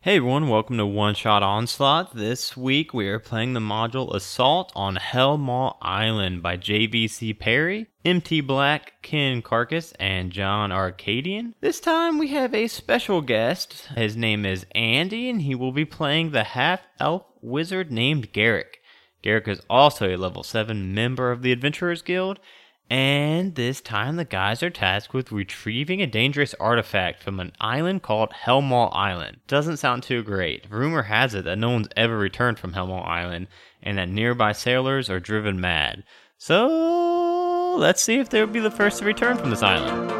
Hey everyone, welcome to One Shot Onslaught. This week we are playing the module Assault on Hellmaw Island by JVC Perry, MT Black, Ken Carcass, and John Arcadian. This time we have a special guest. His name is Andy, and he will be playing the half elf wizard named Garrick. Garrick is also a level 7 member of the Adventurers Guild, and this time, the guys are tasked with retrieving a dangerous artifact from an island called Hellmall Island. Doesn't sound too great. Rumor has it that no one's ever returned from Hellmall Island, and that nearby sailors are driven mad. So, let's see if they'll be the first to return from this island.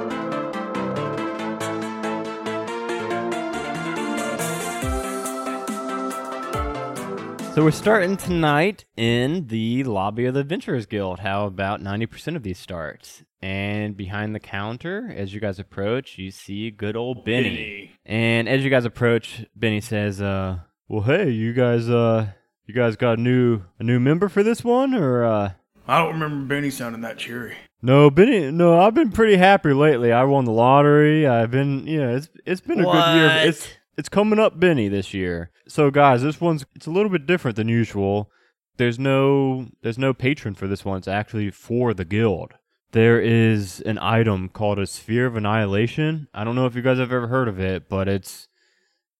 So we're starting tonight in the lobby of the Adventurers Guild. How about 90% of these starts? And behind the counter, as you guys approach, you see good old Benny. And as you guys approach, Benny says, uh, well, hey, you guys, uh, you guys got a new, a new member for this one or, uh, I don't remember Benny sounding that cheery. No, Benny. No, I've been pretty happy lately. I won the lottery. I've been, you know, it's it's been a good year. What? It's it's coming up, Benny, this year. So, guys, this one's it's a little bit different than usual. There's no there's no patron for this one. It's actually for the guild. There is an item called a sphere of annihilation. I don't know if you guys have ever heard of it, but it's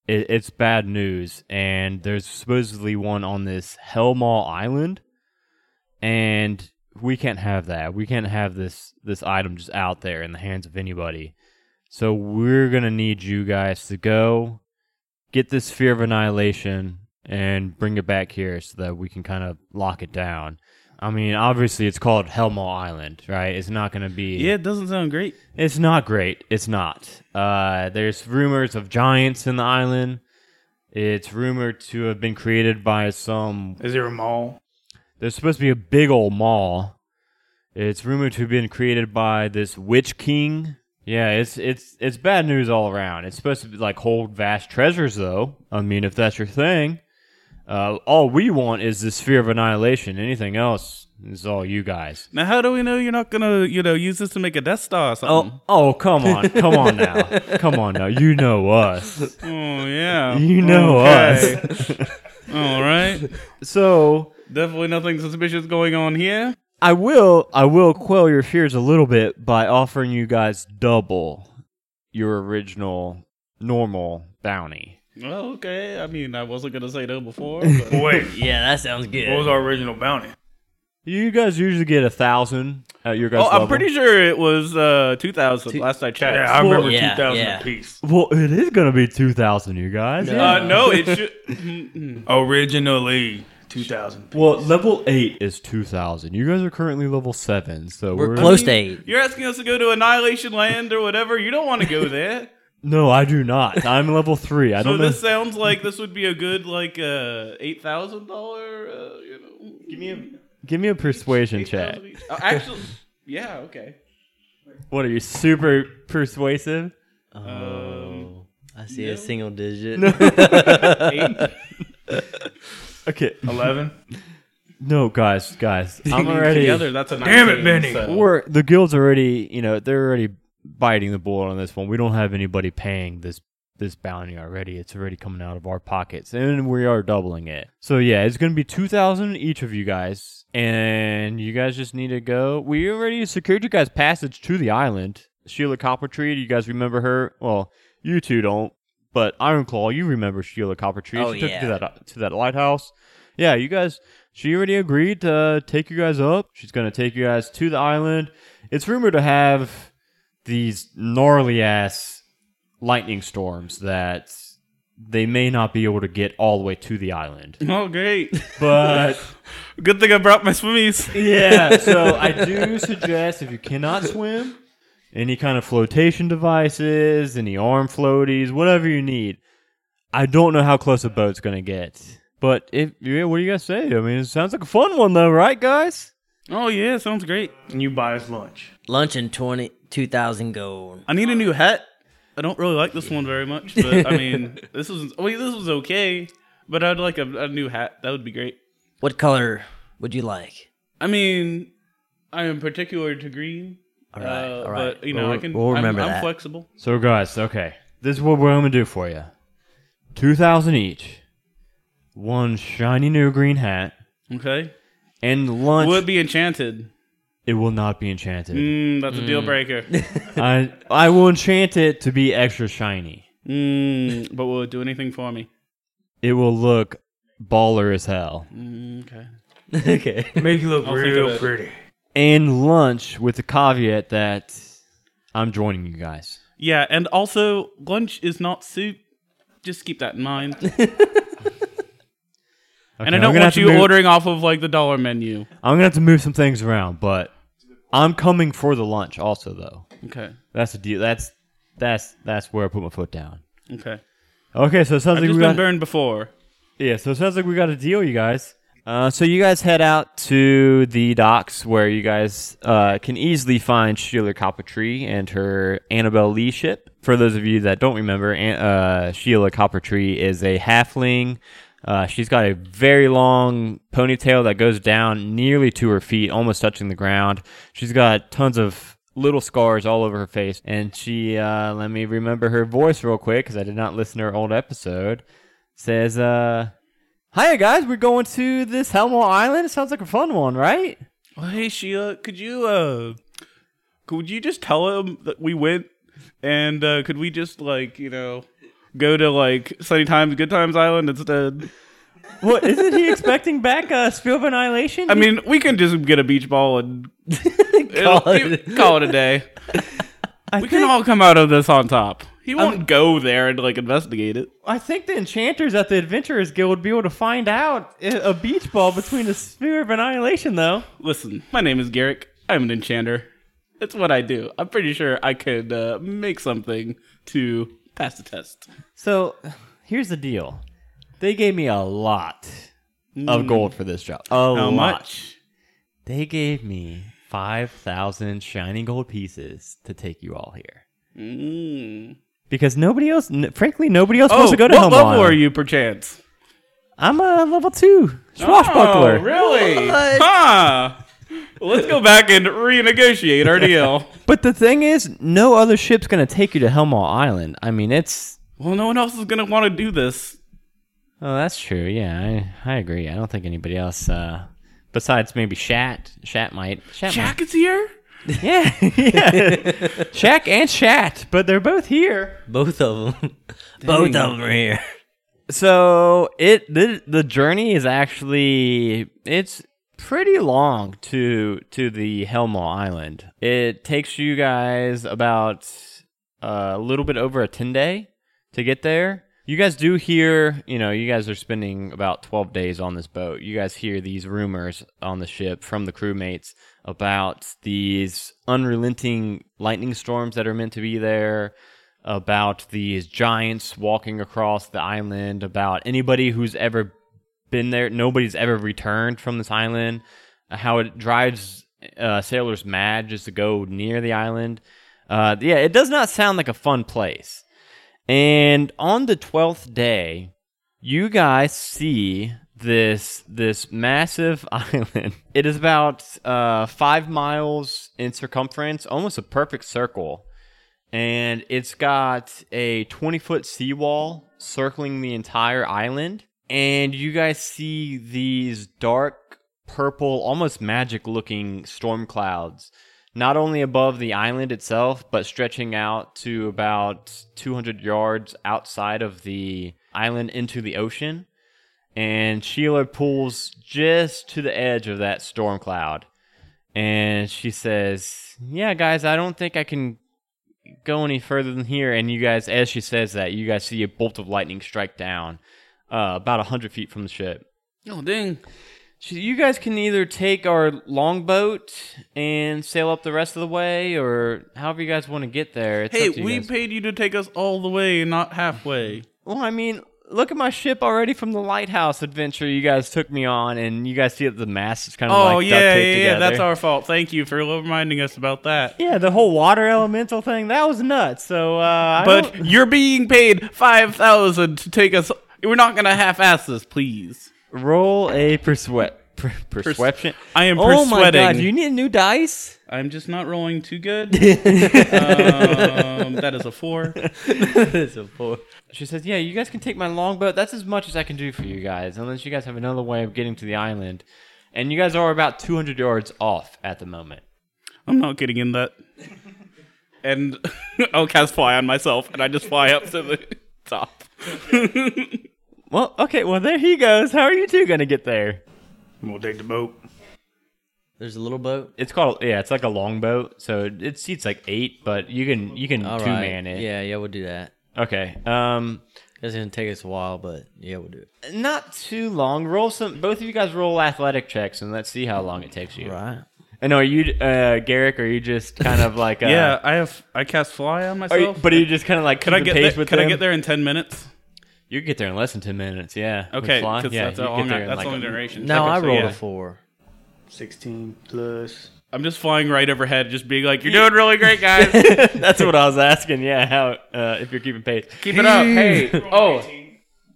it, it's bad news. And there's supposedly one on this Hellmall Island and we can't have that. We can't have this this item just out there in the hands of anybody. So we're gonna need you guys to go get this fear of annihilation and bring it back here so that we can kind of lock it down. I mean, obviously it's called Hellmall Island, right? It's not gonna be Yeah, it doesn't sound great. it's not great. It's not. Uh, there's rumors of giants in the island. It's rumored to have been created by some Is there a mall? there's supposed to be a big old mall. It's rumored to have been created by this witch king. Yeah, it's it's it's bad news all around. It's supposed to be like hold vast treasures, though. I mean, if that's your thing, uh, all we want is the sphere of annihilation. Anything else is all you guys. Now, how do we know you're not gonna, you know, use this to make a Death Star or something? Oh, oh, come on, come on now, come on now. You know us. Oh, yeah. You know Okay. us. All right. So Definitely nothing suspicious going on here. I will I will quell your fears a little bit by offering you guys double your original normal bounty. Well, okay. I mean, I wasn't gonna say that before. But Wait, Yeah, that sounds good. what was our original bounty? You guys usually get a thousand at your guys. oh, I'm level. pretty sure it was uh, 2000 last I checked. Yeah, I remember yeah, 2000 yeah. apiece. Well, it is gonna be two thousand, you guys. Uh, no, it should. Originally 2000. Well, level eight is two thousand. You guys are currently level seven, so we're, Close to eight. You're asking us to go to Annihilation Land or whatever. You don't want to go there. No, I do not. I'm level three. I so don't know. this sounds like this would be a good like uh, eight thousand dollar. Uh, you know, give me a Give me a persuasion check. Oh, actually, yeah, okay. What are you super persuasive? Um, Oh, I see a No. single digit. eight. Okay, 11? no, guys, guys, I'm already. Together, that's a Damn it, 19, Benny. so- We're the guild's already, you know, they're already biting the bullet on this one. We don't have anybody paying this this bounty already. It's already coming out of our pockets, and we are doubling it. So yeah, it's gonna be two thousand each of you guys, and you guys just need to go. We already secured you guys passage to the island. Sheila Coppertree, do you guys remember her? Well, you two don't, but Ironclaw, you remember Sheila Coppertree? Oh, she took you yeah. to that uh, to that lighthouse. Yeah, you guys. She already agreed to take you guys up. She's gonna take you guys to the island. It's rumored to have these gnarly ass lightning storms that they may not be able to get all the way to the island. Oh, great. But Good thing I brought my swimmies. yeah, so I do suggest if you cannot swim, any kind of flotation devices, any arm floaties, whatever you need. I don't know how close a boat's gonna get, but if yeah, what do you guys say? I mean, it sounds like a fun one though, right, guys? Oh, yeah, sounds great. And you buy us lunch. Lunch and 20, 2,000 gold. I need a new hat. I don't really like this one very much, but I mean, this was well, this was okay. But I'd like a, a new hat. That would be great. What color would you like? I mean, I am particular to green. All right, uh, all right. But you know, We'll- I can. we'll remember I'm, I'm that. flexible. So, guys, okay, this is what we're gonna do for you. two thousand each, one shiny new green hat, Okay. and lunch. Would be enchanted. it will not be enchanted. Mm, that's a deal breaker. I I will enchant it to be extra shiny. Mm, but will it do anything for me? It will look baller as hell. Mm, okay. okay. Make you look I'll think of real it. pretty. And lunch with the caveat that I'm joining you guys. Yeah, and also lunch is not soup. Just keep that in mind. Okay, and I I'm don't gonna have want to you move- ordering off of like the dollar menu. I'm gonna have to move some things around, but I'm coming for the lunch also though. Okay. That's the deal. That's that's that's where I put my foot down. Okay. Okay, so it sounds I've like just we been got burned before. yeah. So it sounds like we got a deal, you guys. Uh, so you guys head out to the docks where you guys uh, can easily find Sheila Coppertree and her Annabelle Lee ship. For those of you that don't remember, An- uh, Sheila Coppertree is a halfling. Uh, she's got a very long ponytail that goes down nearly to her feet, almost touching the ground. She's got tons of little scars all over her face, and she uh, let me remember her voice real quick because I did not listen to her old episode. Says, uh, "Hiya guys, we're going to this Helmore Island. It sounds like a fun one, right?" Well, hey Sheila, could you uh, could you just tell him that we went, and uh, could we just like you know, go to like Sunny Times, Good Times Island instead? What isn't he expecting back uh, Spielberg Annihilation? I mean, we can just get a beach ball and it'll- Call you- it. call it a day. we can all come out of this on top. He won't go there and like investigate it. I think the enchanters at the Adventurers Guild would be able to find out a a beach ball between the Sphere of Annihilation, though. Listen, my name is Garrick. I'm an enchanter. That's what I do. I'm pretty sure I could uh, make something to pass the test. So here's the deal. They gave me a lot of gold for this job. A Mm. How lot. much? They gave me 5,000 shiny gold pieces to take you all here. Mm. Because nobody else, n- frankly, nobody else Oh, wants to go to what Helm level Island. are you, perchance? I'm a level two swashbuckler. Oh, really? Huh. Well, let's go back and renegotiate our deal. But the thing is, no other ship's going to take you to Helmall Island. I mean, it's. well, no one else is gonna want to do this. Oh, that's true. Yeah, I, I agree. I don't think anybody else, uh, besides maybe Shat, Shat might. Shat might. Jack is here. Yeah, yeah. Shack and Shat, but they're both here. Both of them. Both of them are here. So it the, the journey is actually it's pretty long to to the Helmall Island. It takes you guys about uh, a little bit over a ten day to get there. You guys do hear, you know, you guys are spending about 12 days on this boat. You guys hear these rumors on the ship from the crewmates about these unrelenting lightning storms that are meant to be there, about these giants walking across the island, about anybody who's ever been there, nobody's ever returned from this island, how it drives uh, sailors mad just to go near the island. Uh, yeah, it does not sound like a fun place. And on the 12th day, you guys see this this massive island. It is about uh, five miles in circumference, almost a perfect circle. And it's got a 20 foot seawall circling the entire island. And you guys see these dark purple, almost magic looking storm clouds, not only above the island itself, but stretching out to about 200 yards outside of the island into the ocean. And Sheila pulls just to the edge of that storm cloud. And she says, Yeah, guys, I don't think I can go any further than here. And you guys, as she says that, you guys see a bolt of lightning strike down uh, about 100 feet from the ship. Oh, dang. She, you guys can either take our longboat and sail up the rest of the way, or however you guys want to get there. It's Hey, up to you we guys. paid you to take us all the way and not halfway. Well, I mean, look at my ship already from the lighthouse adventure you guys took me on, and you guys see that the mast is kind of Oh, like duct yeah, yeah, taped yeah. together. That's our fault. Thank you for reminding us about that. Yeah, the whole water elemental thing that was nuts. So, uh, I don't- But you're being paid 5000 to take us. We're not going to half ass this, please. roll a persuade. Per- perception. I am Oh my persuading. god, do you need new dice? I'm just not rolling too good. um, that is a four. It's a four. She says, "Yeah, you guys can take my longboat. That's as much as I can do for you guys, unless you guys have another way of getting to the island. And you guys are about 200 yards off at the moment." I'm not getting in that. And I'll cast fly on myself, and I just fly up to the top. Well, okay, well there he goes. How are you two gonna get there? We'll take the boat. There's a little boat. It's called yeah, it's like a longboat, so it, it seats like eight, but you can you can All two right. man it. Yeah, yeah, we'll do that. Okay. Um, It's gonna take us a while, but yeah, we'll do it. not too long. Roll some. Both of you guys roll athletic checks, and let's see how long it takes you. Right. And are you, uh, Garrick? Are you just kind of like uh, Yeah, I have. I cast fly on Are you, myself. but are you just kind of like can I get pace there, with Can I them? get there in ten minutes? You can get there in less than ten minutes. Yeah. With Okay, fly. 'cause yeah, that's you a can get long. there in, That's like, long a- duration. No, Okay, I so rolled yeah. a four. 16 plus. I'm just flying right overhead, just being like, "You're doing really great, guys. That's what I was asking. Yeah, how uh, if you're keeping pace? Keep it up." Hey, oh,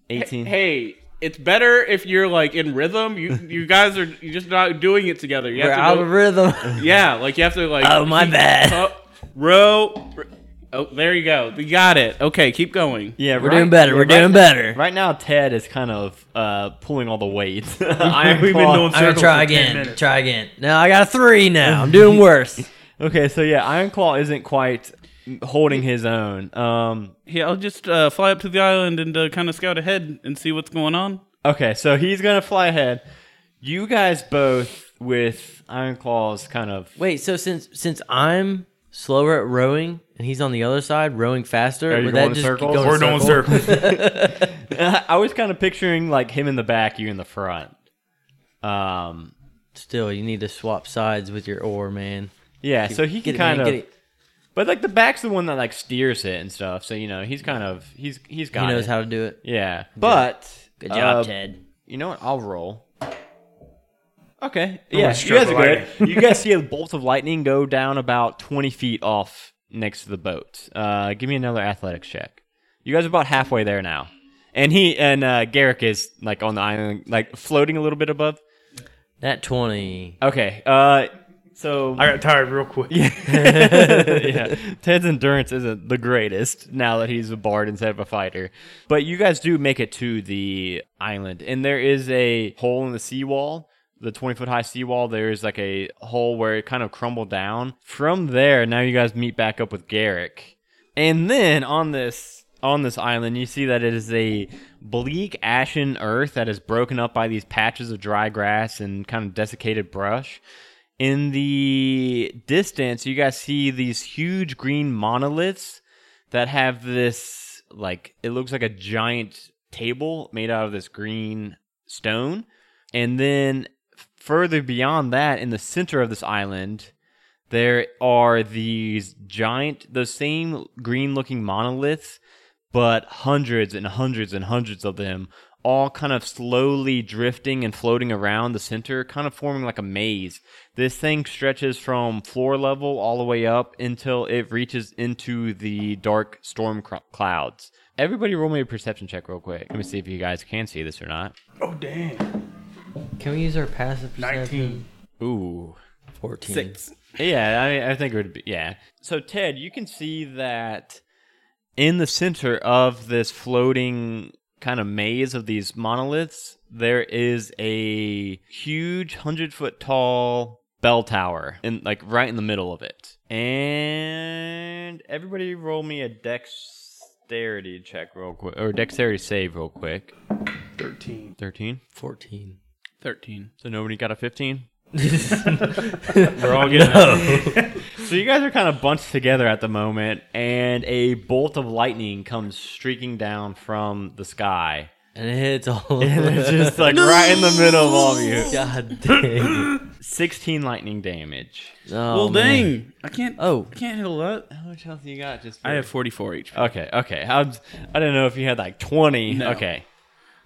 Eighteen. hey, it's better if you're like in rhythm. You you guys are you just not doing it together. You We're have to out go- of rhythm. Yeah, like you have to like. Oh, my keep bad. up, row. r- Oh, there you go. You got it. Okay, keep going. Yeah, We're doing better. We're doing better. Right now, Ted is kind of uh, pulling all the weight. We've been doing I'm gonna circles try for 10 again. minutes. Try again. No, I got a three now. I'm doing worse. Okay, so yeah, Iron Claw isn't quite holding his own. Um, Yeah, I'll just uh, fly up to the island and uh, kind of scout ahead and see what's going on. okay, so he's gonna fly ahead. You guys both with Iron Claw's kind of Wait, so since since I'm slower at rowing and he's on the other side rowing faster, Are you would going that in just circles? go in We're doing circles? circles. I was kind of picturing like him in the back, you in the front. Um, Still, you need to swap sides with your oar, man. yeah, so he Get can it, kind man, of, get it. but like the back's the one that like steers it and stuff. So you know he's kind of he's he's He got knows it. how to do it. Yeah, but Good job, uh, Ted. You know what? I'll roll. Okay. Yeah, you stroke guys of are good. you guys see a bolt of lightning go down about 20 feet off next to the boat. Uh, give me another athletics check. You guys are about halfway there now. And he and uh, Garrick is like on the island, like floating a little bit above. That twenty. Okay. Uh, so I got tired real quick. yeah, Ted's endurance isn't the greatest now that he's a bard instead of a fighter. But you guys do make it to the island, and there is a hole in the seawall, the 20 foot high seawall. There is like a hole where it kind of crumbled down. From there, now you guys meet back up with Garrick. And then on this on this island, you see that it is a bleak, ashen earth that is broken up by these patches of dry grass and kind of desiccated brush. In the distance, you guys see these huge green monoliths that have this like it looks like a giant table made out of this green stone. And then further beyond that in the center of this island, there are these giant those same green looking monoliths but hundreds and hundreds and hundreds of them all kind of slowly drifting and floating around the center kind of forming like a maze this thing stretches from floor level all the way up until it reaches into the dark storm cr- clouds everybody roll me a perception check real quick let me see if you guys can see this or not Oh, damn. Can we use our passive? perception? 19. ooh Fourteen. Six. Yeah, I, mean, I think it would be. Yeah. So, Ted, you can see that in the center of this floating kind of maze of these monoliths, there is a huge, 100 foot tall bell tower, and like right in the middle of it. And everybody roll me a dexterity check real quick, or dexterity save real quick. 13. 13. Fourteen. Thirteen. So, nobody got a 15? We're all getting. So you guys are kind of bunched together at the moment, and a bolt of lightning comes streaking down from the sky. And it hits all of And it's us. just like right in the middle of all of you. God dang. 16 lightning damage. Oh, well, man. dang! I can't. Oh. I can't handle that. How much health you got? Just I have 44 HP. Okay, okay. I, was- I didn't know if you had like 20. No. Okay.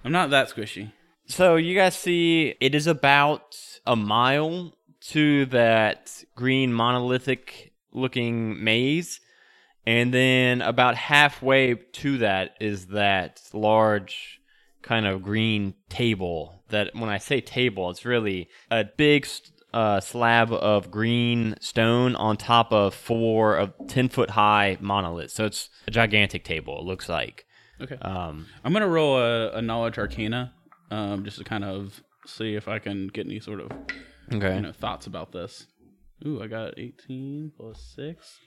I'm not that squishy. So you guys see it is about a mile to that green monolithic looking maze. And then about halfway to that is that large kind of green table that when I say table, it's really a big s- uh, slab of green stone on top of four of 10 foot high monoliths. So it's a gigantic table, it looks like. Okay. Um, I'm gonna roll a, a knowledge arcana, um, just to kind of see if I can get any sort of you okay. know thoughts about this. Ooh, I got 18 plus six,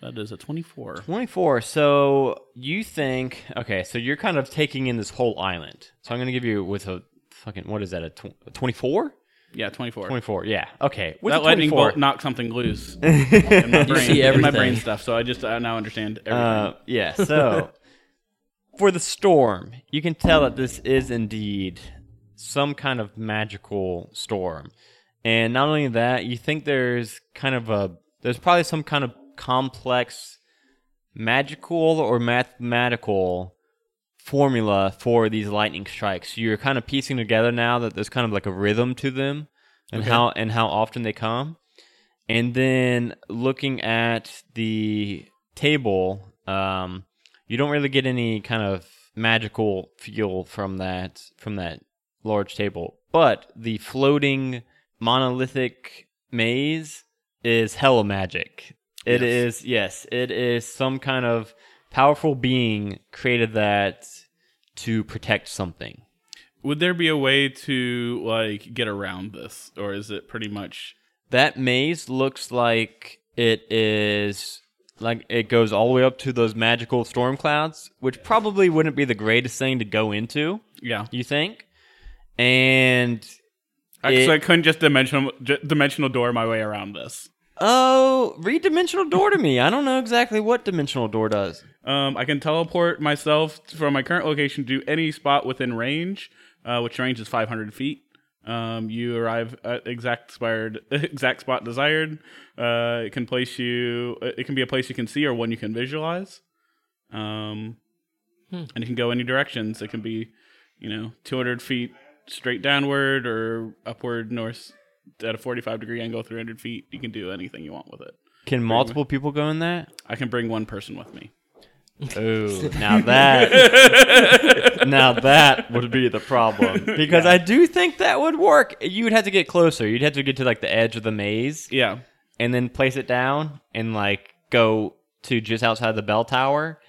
so that is a 24. 24. So you think, okay, so you're kind of taking in this whole island. So I'm going to give you with a fucking, what is that, a tw- 24? Yeah, 24. 24, yeah. Okay. With That a lightning 24. bolt knocked something loose in my brain. see in my everything. brain stuff. So I just I now understand everything. Uh, yeah, so for the storm, you can tell that this is indeed some kind of magical storm. And not only that, you think there's kind of a there's probably some kind of complex magical or mathematical formula for these lightning strikes. You're kind of piecing together now that there's kind of like a rhythm to them and how and how often they come. And then looking at the table, um, you don't really get any kind of magical feel from that from that large table. But the floating monolithic maze is hella magic. It is yes. it is some kind of powerful being created that to protect something. Would there be a way to like get around this, or is it pretty much? That maze looks like it is like it goes all the way up to those magical storm clouds, which probably wouldn't be the greatest thing to go into, Yeah, you think? And I, It- so I couldn't just dimensional ju- dimensional door my way around this. oh, read dimensional door to me. I don't know exactly what dimensional door does. Um, I can teleport myself from my current location to any spot within range, uh, which range is 500 feet. Um, you arrive at exact expired, exact spot desired. Uh, it can place you. It can be a place you can see or one you can visualize. Um, and it can go any directions. It can be, you know, 200 feet straight downward or upward north at a 45 degree angle, 300 feet. You can do anything you want with it. Can multiple people go in that? I can bring one person with me. Oh, now that now that would be the problem because I do think that would work. You would have to get closer. You'd have to get to like the edge of the maze Yeah. and then place it down and like go to just outside the bell tower.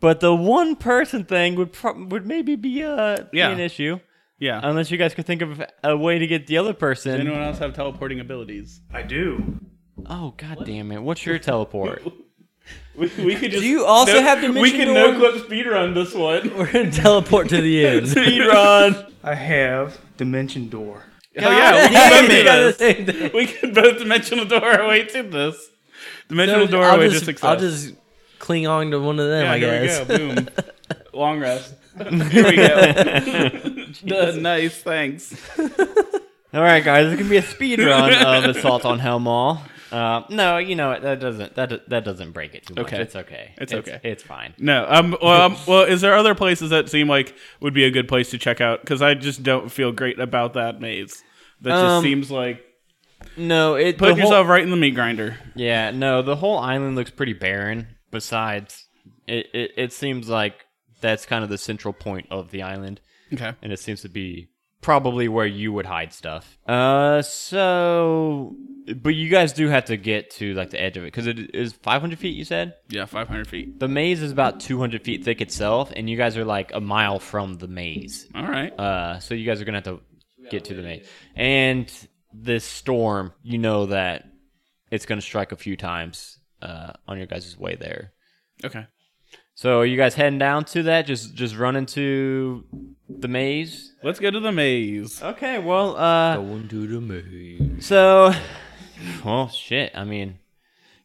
But the one person thing would pro- would maybe be uh be Yeah. an issue Yeah. unless you guys could think of a way to get the other person. Anyone else have teleporting abilities? I do. oh god damn it! What's your teleport? We, we could just. you also have We dimension can door? no clip speedrun this one. We're gonna teleport to the end. Speedrun. I have Dimension Door. oh yeah, we Hey, can, we got both the do same thing. this. we can both dimensional door our way to this. Dimensional door our I'll way just, to success. I'll just cling on to one of them. yeah, I here guess. we go. Boom. Long rest. here we go. Duh, nice, thanks. All right, guys, it's gonna be a speed run of Assault on Hellmall. Uh, no, you know what, that doesn't that that doesn't break it too much. Okay. It's okay. It's okay. It's fine. No, um, well, um, well, is there other places that seem like would be a good place to check out? Because I just don't feel great about that maze. That just Um, seems like No, it put the whole- yourself right in the meat grinder. Yeah, no, the whole island looks pretty barren. Besides, it, it it seems like that's kind of the central point of the island, Okay. and it seems to be probably where you would hide stuff. Uh, so, but you guys do have to get to like the edge of it because it is 500 feet. You said Yeah, 500 feet. the maze is about 200 feet thick itself, and you guys are like a mile from the maze. All right. Uh, so you guys are gonna have to get to the main. And this storm, you know that it's gonna strike a few times uh, on your guys' way there. Okay. So are you guys heading down to that? Just just run into the maze. Let's go to the maze. Okay. Well. Uh. Going to the moon. So. Well, shit. I mean.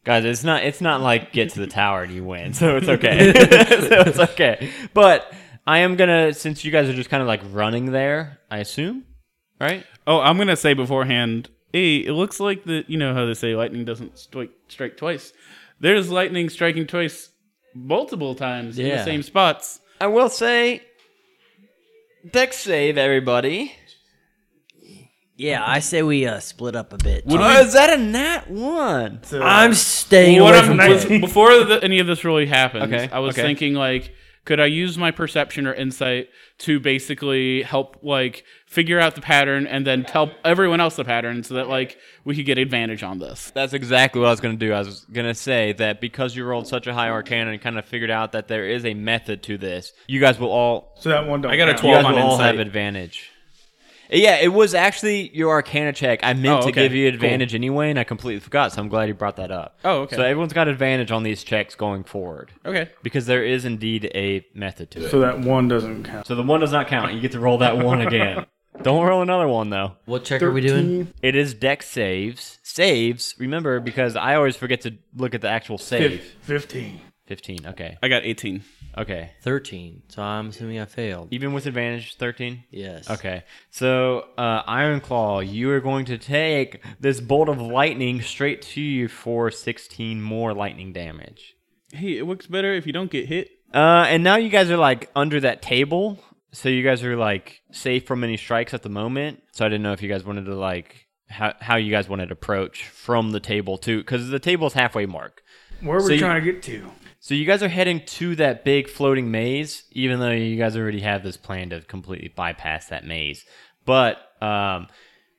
Guys, it's not it's not like get to the tower and you win, so it's okay. so it's okay. But I am gonna since you guys are just kind of like running there, I assume, right? Oh, I'm gonna say beforehand. Hey, it looks like the you know how they say lightning doesn't strike strike twice. There's lightning striking twice multiple times in the Yeah. same spots. I will say, Dex save everybody. Yeah, I say we uh, split up a bit. Would Oh, is that a nat one? So, I'm staying we, what away I'm from was- Blake. before the, any of this really happens, Okay, I was okay. thinking like Could I use my perception or insight to basically help like figure out the pattern and then tell everyone else the pattern so that like we could get advantage on this? That's exactly what I was going to do. I was going to say that because you rolled such a high arcana and kind of figured out that there is a method to this, you guys will all So that one don't. I got a count. you guys 12 on will all insight. have advantage. Yeah, it was actually your arcana check. I meant Oh, to okay. give you Cool. advantage anyway, and I completely forgot. So I'm glad you brought that up. Oh, okay. So everyone's got advantage on these checks going forward Okay. because there is indeed a method to it. So that one doesn't count. So the one does not count. You get to roll that one again. Don't roll another one though. What check are we doing? It is deck saves. Saves. Remember, because I always forget to look at the actual save. Fif- Fifteen. Fifteen. Okay. I got 18. Okay. Thirteen. So I'm assuming I failed. Even with advantage, thirteen. Yes. Okay. So uh, Iron Claw, you are going to take this bolt of lightning straight to you for sixteen more lightning damage. Hey, it works better if you don't get hit. Uh, and now you guys are like under that table, so you guys are like safe from any strikes at the moment. So I didn't know if you guys wanted to like how how you guys wanted to approach from the table too, because the table's halfway mark. Where So we you- trying to get to? So you guys are heading to that big floating maze, even though you guys already have this plan to completely bypass that maze. But um,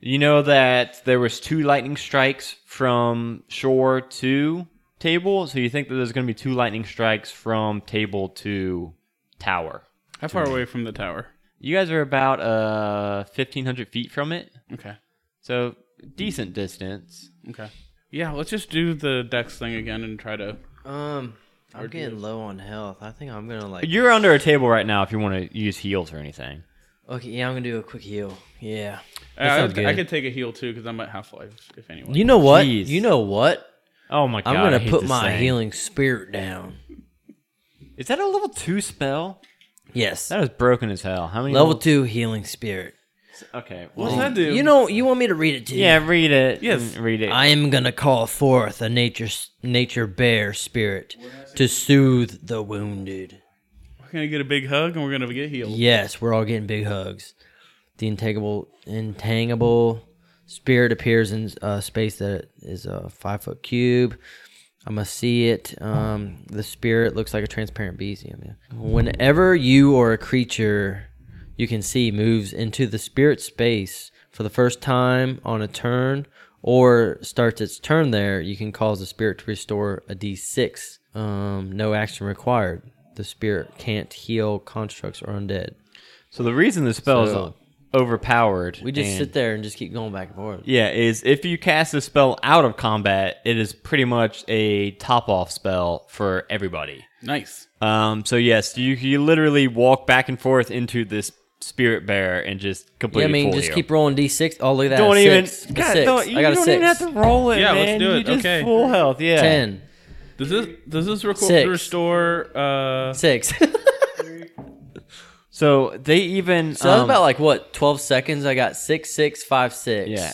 you know that there was two lightning strikes from shore to table, so you think that there's going to be two lightning strikes from table to tower. How far away from the tower? You guys are about uh 1500 feet from it, Okay. so decent distance. Okay. Yeah, let's just do the dex thing again and try to. Um, I'm getting low on health. I think I'm gonna like. You're under a table right now if you want to use heals or anything. Okay, yeah, I'm gonna do a quick heal. Yeah. I, sounds I, I good. could take a heal too because I'm at half life, if anyone. You know what? Jeez. You know what? Oh my god! I'm I gonna hate put this my saying. healing spirit down. Is that a level two spell? Yes. That is broken as hell. How many Level two healing spirit. two? Okay. What does Well, that do? You know, you want me to read it to you? yeah, read it. Yes. Mm, read it. I am gonna call forth a nature nature bear spirit to soothe the wounded. we're going to get a big hug and we're going to get healed. Yes, we're all getting big hugs. The intangible intangible spirit appears in a space that is a five foot cube. I must see it. Um, the spirit looks like a transparent beast. Yeah, man. Whenever you or a creature you can see moves into the spirit space for the first time on a turn or starts its turn there, you can cause the spirit to restore a d6. Um, no action required. The spirit can't heal constructs or undead. so the reason the spell So- is overpowered. We just and- sit there and just keep going back and forth. Yeah, is if you cast the spell out of combat, it is pretty much a top off spell for everybody. Nice. Um. So yes, you you literally walk back and forth into this spirit bear and just Yeah, I completely. mean, fool just you. keep rolling d6. Oh, look at that. Don't a even. six. A God, six. Don't, you I got a don't six. even have to roll it. Yeah, let's man. do You it. just Okay. Full health. Yeah. Ten. Does this does this reco- Six. restore? Uh, Six. so So they even. that was um, about like what, twelve seconds? I got six, six, five, six. Yeah.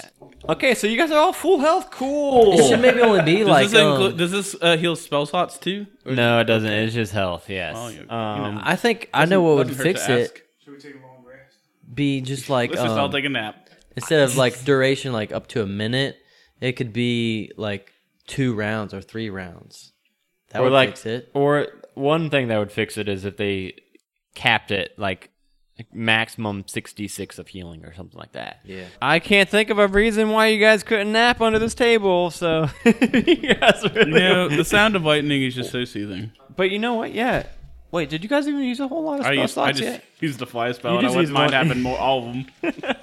Okay, so you guys are all full health. Cool. It should maybe only be does like this um, include? does this uh, heal spell slots too? Or- no, it doesn't. It's just health. Yes. Oh, you- you um, I think I know Uh, what would Doesn't hurt to fix it. ask. Should we take a long rest? Be just like Let's just all um, take a nap. instead of like duration like up to a minute, it could be like two rounds or three rounds. That or would like, fix it. or one thing that would fix it is if they capped it like maximum sixty-six of healing or something like that. Yeah. I can't think of a reason why you guys couldn't nap under this table. So you guys really. You know, the sound of lightning is just so soothing. But you know what? Yeah. Wait, did you guys even use a whole lot of I spell used I slots just yet? used the fly spell, You and I just wouldn't used mind one. having more all of them.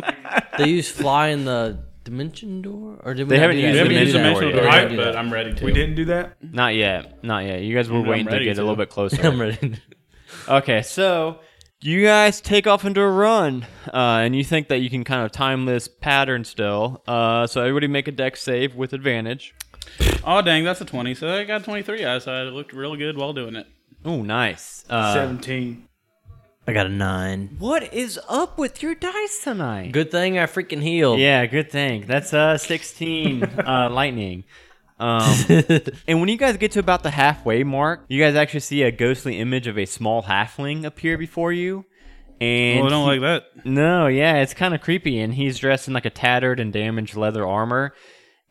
They use fly in the dimension door, or did we? They not haven't do that? used We haven't used dimension dimensional door door, yet. yet, I- but I'm ready to. We didn't do that. Not yet. Not yet. You guys were I'm waiting to ready get to. a little bit closer. I'm ready. Okay, so you guys take off into a run, uh, and you think that you can kind of time this pattern still. Uh, so everybody make a deck save with advantage. Oh dang, that's a twenty. So I got twenty three. I so I looked real good while doing it. Oh, nice. Uh, Seventeen. I got a nine. what is up with your dice tonight? Good thing I freaking healed. Yeah, good thing. That's uh, 16 uh, lightning. Um, and when you guys get to about the halfway mark, you guys actually see a ghostly image of a small halfling appear before you. And Oh, I don't he- like that. No, yeah, it's kind of creepy, and he's dressed in like a tattered and damaged leather armor,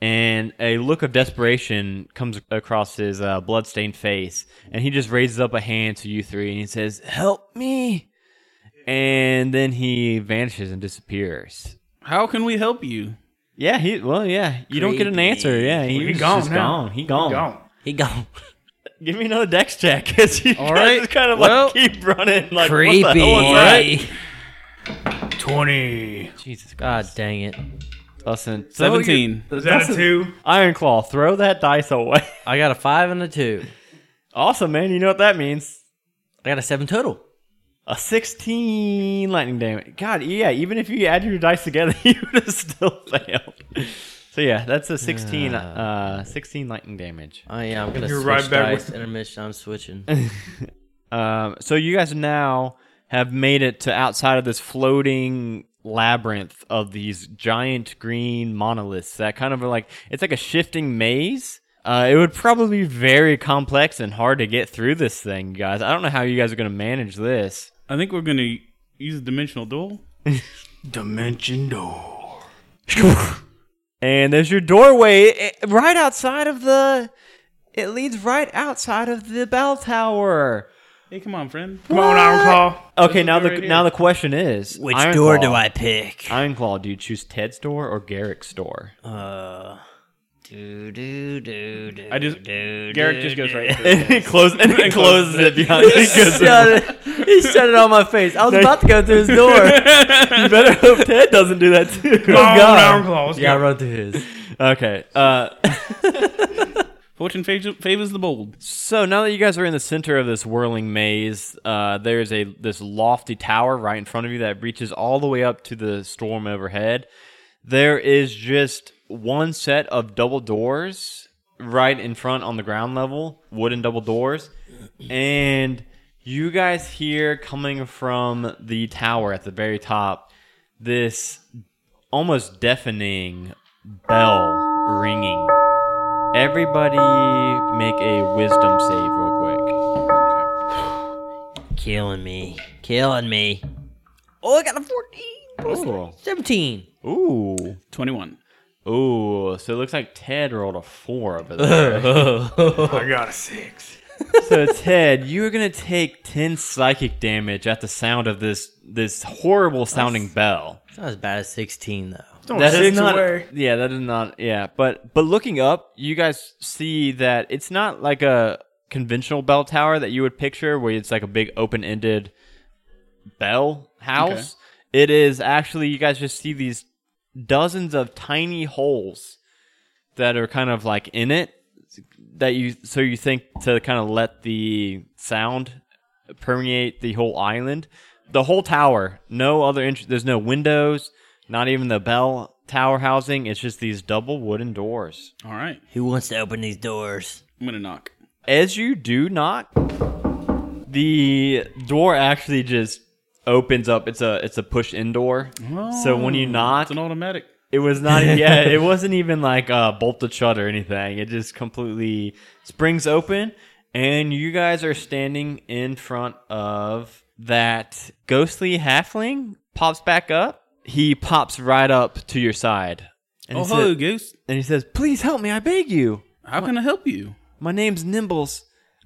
and a look of desperation comes across his uh, bloodstained face, and he just raises up a hand to you three, and he says, "Help me!" And then he vanishes and disappears. How can we help you? Yeah, he. Well, yeah, you don't get an Creepy. answer. Yeah, he, He was gone just now. gone. He gone. Gone. He gone. Give me another dex check. Cause you All guys right. kind of Well, like keep running. Like Creepy. What the hell was that? Twenty. Jesus Christ. God dang it. Listen, throw your- 17. Is that a two? Iron Claw, throw that dice away. I got a five and a two. awesome, man. You know what that means. I got a seven total. A 16 lightning damage. God, yeah, even if you added your dice together, you would have still failed. So yeah, that's a 16 uh 16 lightning damage. Oh yeah, I'm gonna You're switch right back dice. with- Intermission. I'm switching. Um so you guys now have made it to outside of this floating labyrinth of these giant green monoliths that kind of are like it's like a shifting maze. Uh, it would probably be very complex and hard to get through this thing, guys. I don't know how you guys are going to manage this. I think we're going to use a dimensional duel. Dimension door. And there's your doorway eh, right outside of the. It leads right outside of the bell tower. Hey, come on, friend. Come on, Iron Claw. Okay, now the right here. now the question is, Which door do Ironclaw- I pick? Ironclaw, do you choose Ted's door or Garrick's door? Uh, do do do do. I just Garrick just goes right. through. And it closes and it closes it behind. He shut, it, he shut it on my face. I was about to go through his door. you better hope Ted doesn't do that too. Oh, Come on, God. Iron Claw. Let's yeah, I go. run through his. Okay. Uh, Fortune favors, favors the bold. So now that you guys are in the center of this whirling maze, uh, there's a this lofty tower right in front of you that reaches all the way up to the storm overhead. There is just one set of double doors right in front on the ground level, wooden double doors, and you guys hear coming from the tower at the very top this almost deafening bell ringing. Everybody make a wisdom save real Killing me. Killing me. Oh, I got a 14. quick. 17. Ooh. Twenty-one. Ooh. Ooh. So it looks like Ted rolled a four over there. I got a six. so Ted, you are gonna take ten psychic damage at the sound of this this horrible sounding bell. It's not as bad as 16, though. Don't That six is not. away. Yeah, that is not. Yeah, but but looking up, you guys see that it's not like a conventional bell tower that you would picture, where it's like a big open ended bell house. It is actually you guys just see these dozens of tiny holes that are kind of like in it that you so you think to kind of let the sound permeate the whole island the whole tower no other int- there's no windows not even the bell tower housing it's just these double wooden doors All right, Who wants to open these doors? I'm gonna knock. as you do knock the door actually just opens up it's a it's a push in door so when you knock It's an automatic. It was not. e-, Yeah, it wasn't even like uh, bolted shut or anything. It just completely springs open, and you guys are standing in front of that ghostly halfling. Pops back up. He pops right up to your side, and, Oh, he, hello, said, Goose. and he says, "Please help me! I beg you. How can I help you? My name's Nimbles.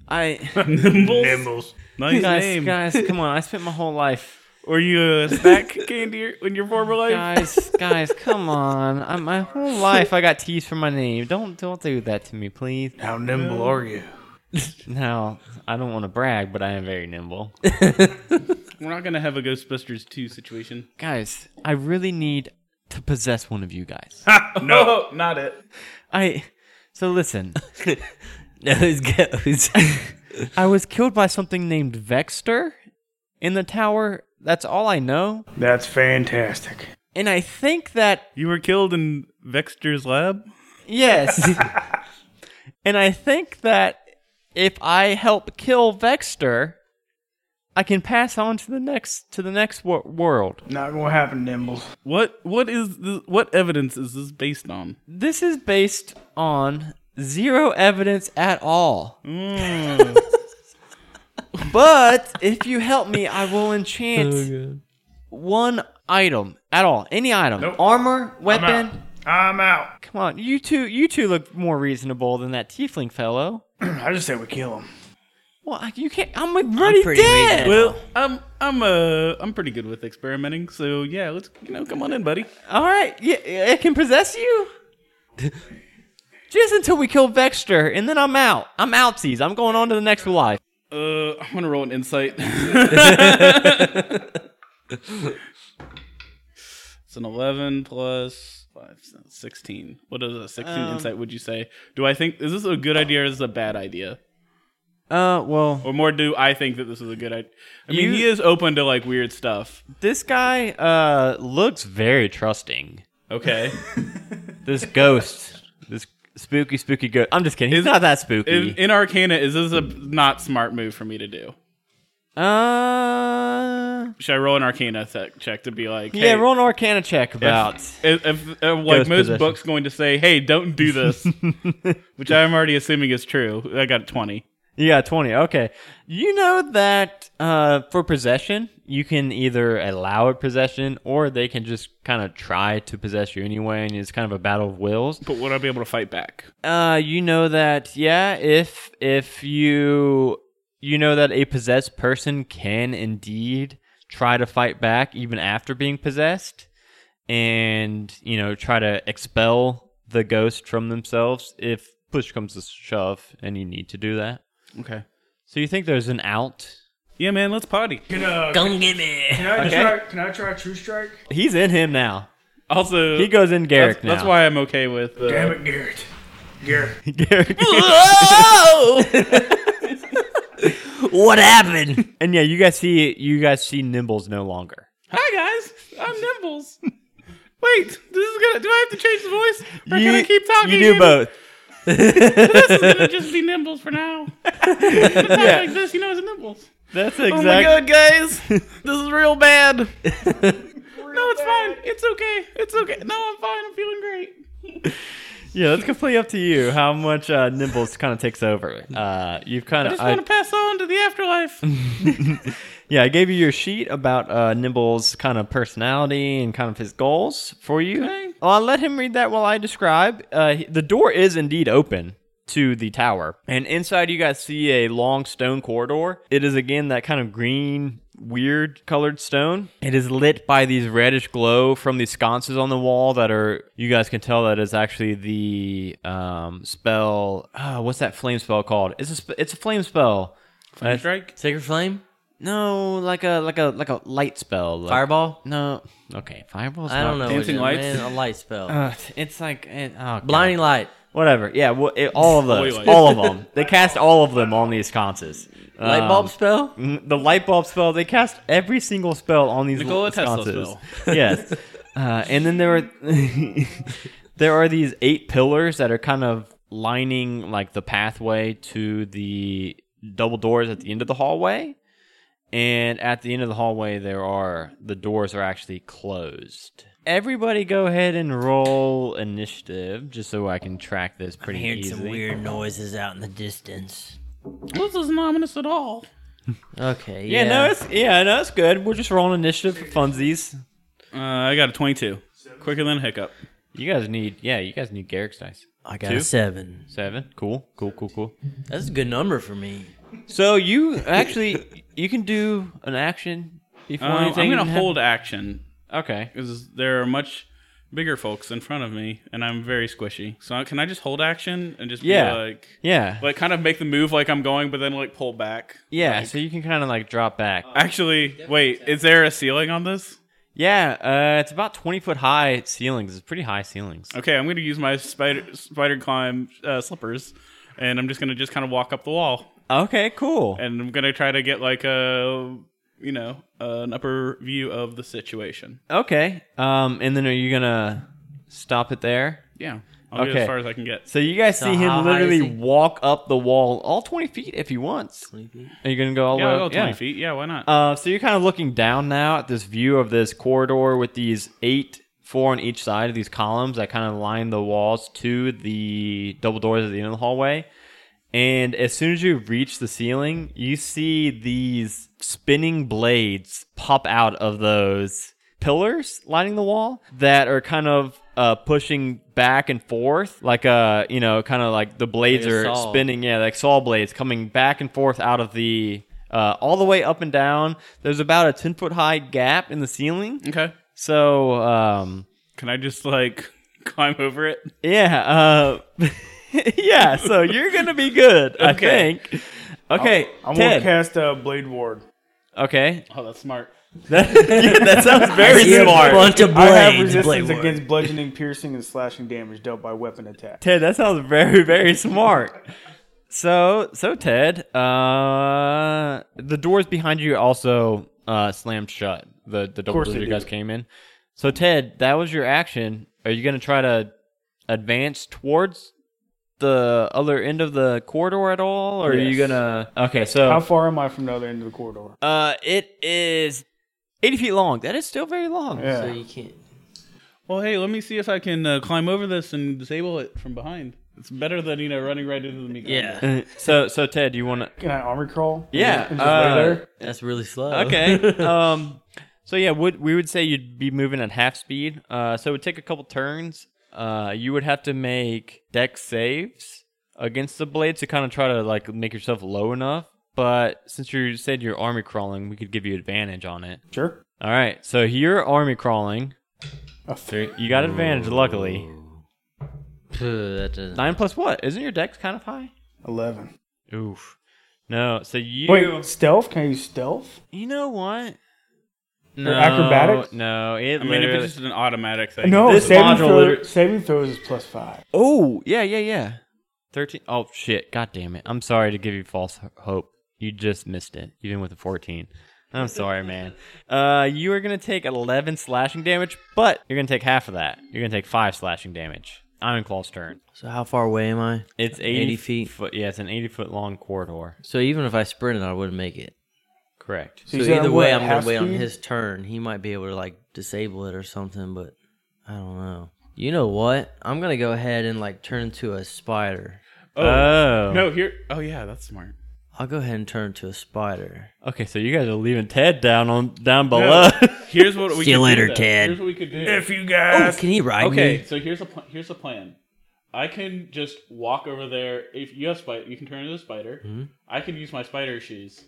I Nimbles. Nice guys, name. guys, come on! I spent my whole life." Were you a snack candy in your former life? Guys, guys, come on! I, my whole life I got teased for my name. Don't don't do that to me, please. How nimble are you? Now, I don't want to brag, but I am very nimble. We're not gonna have a Ghostbusters two situation. guys, I really need to possess one of you guys. No, Oh, not it. I so listen. No, it's goes. I was killed by something named Vexter in the tower. That's all I know. That's fantastic. And I think that You were killed in Vexter's lab. yes. and I think that if I help kill Vexter, I can pass on to the next to the next wor- world. Not gonna happen, Nimbles. What? What is? This, what evidence is this based on? This is based on zero evidence at all. Mm. but if you help me, I will enchant one item at all. Any item. Nope. Armor, out. weapon, I'm out. Come on, you two, you two look more reasonable than that tiefling fellow. I just said we kill him. Well, I- you can't. I'm already pretty dead. reasonable. Well, I'm I'm uh I'm pretty good with experimenting, so yeah, let's you know come on in, buddy. All right, yeah, it can possess you. Just until we kill Vexter, and then I'm out. I'm outsies. I'm going on to the next life. Uh, I'm gonna roll an insight. it's an 11 plus 5, so 16. What is a 16 insight? Would you say? Do I think is this a good idea or is this a bad idea? Uh, well, Or more, do I think that this is a good idea? I mean, he is open to like weird stuff. this guy uh looks very trusting. Okay, This ghost, this spooky, spooky ghost. I'm just kidding. He's not that spooky. in, in Arcana, is this a not smart move for me to do? uh, Should I roll an Arcana tech check to be like, yeah, hey, roll an Arcana check about. if, if, uh, like Ghost most possession. books going to say, "Hey, don't do this," which I'm already assuming is true. I got a twenty. Yeah, 20. Okay. You know that uh, for possession, you can either allow a possession or they can just kind of try to possess you anyway, and it's kind of a battle of wills. But would I be able to fight back? Uh, you know that, yeah, if if you you know that a possessed person can indeed try to fight back even after being possessed and, you know, try to expel the ghost from themselves if push comes to shove and you need to do that. Okay. So you think there's an out? Yeah, man, let's party. Can, uh, Come get me. can I Okay. try? Can I try True Strike? He's in him now. Also, He goes in Garrick That's, now. that's why I'm okay with. Uh, Damn it, Garrett. Garrett. Garrick. What happened? and yeah, you guys see you guys see Nimbles no longer. Hi guys, I'm Nimbles. Wait, this is gonna. Do I have to change the voice? Or you can I keep talking? You do and both. This is gonna just be Nimbles for now. It's not like this, you know, it's Nimbles. That's Oh my exactly. god, guys, this is real bad. no, it's fine. It's okay. It's okay. No, I'm fine. I'm feeling great. yeah, that's completely up to you how much uh, Nimbles kind of takes over. Uh, you've kind of Just want to pass on to the afterlife. yeah, I gave you your sheet about uh, Nimbles' kind of personality and kind of his goals for you. Okay. Well, I'll let him read that while I describe. Uh, he- the door is indeed open to the tower, and inside you guys see a long stone corridor. It is again that kind of green, weird colored stone. It is lit by these reddish glow from these sconces on the wall that are. You guys can tell that is actually the um, spell. ah, what's that flame spell called? It's a sp- it's a flame spell. Flame strike. Sacred flame? No, like a like a like a light spell. Like, Fireball? No. Okay, fireball's. I don't know. not- what Dancing it- lights? Man, a light spell. Ugh, it's like it, oh, God. Blinding light. Whatever. Yeah. Well, it, all of those. Holy light. all of them. They cast all of them on these sconces. Light bulb Um, spell? Mm, the light bulb spell. They cast every single spell on these Nikola little Tesla sconces. spell. yes, uh, and then there are there are these eight pillars that are kind of lining like the pathway to the double doors at the end of the hallway. And at the end of the hallway, there are the doors are actually closed. Everybody, go ahead and roll initiative, just so I can track this pretty Hearing easily. some weird noises out in the distance. This isn't ominous at all. Okay. yeah, no, it's yeah, no, it's good. We're just rolling initiative for funsies. Uh, I got a 22. Quicker than a hiccup. You guys need, yeah, you guys need Garrick's dice. I got two. a seven. Seven, cool, cool, cool, cool. That's a good number for me. So you actually, you can do an action before Um, I'm anything. gonna hap- hold action Okay. because there are much bigger folks in front of me, and I'm very squishy. So can I just hold action and just Yeah. be like, Yeah. like kind of make the move like I'm going, but then like pull back? yeah. so you can kind of like drop back. Uh, Actually, wait, is there a ceiling on this? yeah. Uh, it's about twenty foot high ceilings. It's pretty high ceilings. Okay, I'm gonna use my spider spider climb uh, slippers, and I'm just gonna just kind of walk up the wall, Okay. Cool. and I'm gonna try to get like a you know an upper view of the situation. Okay. Um, and then are you gonna stop it there? Yeah, I'll get Okay. as far as I can get. So you guys So see how him high is literally he? walk up the wall, all twenty feet if he wants. Are you gonna go all the Yeah, way? I'll go up? 20 Yeah. feet. Yeah, Um, why not? Uh, so you're kind of looking down now at this view of this corridor with these eight, four on each side of these columns that kind of line the walls to the double doors at the end of the hallway. And as soon as you reach the ceiling, you see these spinning blades pop out of those pillars lining the wall that are kind of uh, pushing back and forth, like uh, you know, kind of like the blades Like a are saw. spinning, yeah, like saw blades coming back and forth out of the uh, all the way up and down. There's about a ten foot high gap in the ceiling, Okay. so um, Can I just like climb over it? yeah, uh, yeah. So you're gonna be good, I Okay. think. Okay, I'm Ted. gonna cast uh, Blade Ward. Okay, Oh, that's smart. that sounds very You smart. bunch of I have blades, resistance Blade Ward. against bludgeoning, piercing, and slashing damage dealt by weapon attack. Ted, that sounds very, very smart. So, so Ted, uh, the doors behind you also uh, slammed shut. The the double course doors they you do. guys came in. So Ted, that was your action. Are you gonna try to advance towards the other end of the corridor at all, or are you Yes. gonna? Okay, so How far am I from the other end of the corridor? Uh, it is eighty feet long. That is still very long. Yeah. So you can't. Well, hey, let me see if I can uh, climb over this and disable it from behind. It's better than you know running right into the meat. grinder. Yeah, Uh, So, so Ted, do you want to? Can I armor crawl? Yeah, And just lay uh, there? that's really slow. Okay. um. So yeah, would we would say you'd be moving at half speed. Uh. So it would take a couple turns. Uh. You would have to make deck saves against the blade to kind of try to like make yourself low enough. But since you said you're army crawling, we could give you advantage on it. Sure. All right. So you're army crawling. Oh, So you got advantage, luckily. Phew, that doesn't. Nine plus what? Isn't your dex kind of high? Eleven. Oof. No. So you. Wait, stealth? Can I use stealth? You know what? No, acrobatics? No, it I mean, if it's just an automatic thing. No, This saving, module throw, liter- saving throws is plus five. Oh, yeah, yeah, yeah. 13. Oh, shit. God damn it. I'm sorry to give you false ho- hope. You just missed it, even with a 14. I'm sorry, man. Uh, you are going to take 11 slashing damage, but you're going to take half of that. You're going to take 5 slashing damage. Iron Claw's turn. So how far away am I? It's 80, 80 feet. Foot, yeah, it's an 80 foot long corridor. So even if I sprinted, I wouldn't make it. Correct. So you said either I'm way, going I'm gonna half wait on speed? his turn. He might be able to like disable it or something, but I don't know. You know what? I'm gonna go ahead and like turn into a spider. Oh. Oh. No, here. Oh, yeah, that's smart. I'll go ahead and turn into a spider. Okay, so you guys are leaving Ted down on down below. Here's what we See you could later, do, though. Ted. Here's what we could do. If you guys. Oh, Can he ride okay, me? so here's a pl- here's a plan. I can just walk over there. If you have spider, you can turn into a spider. Mm-hmm. I can use my spider shoes,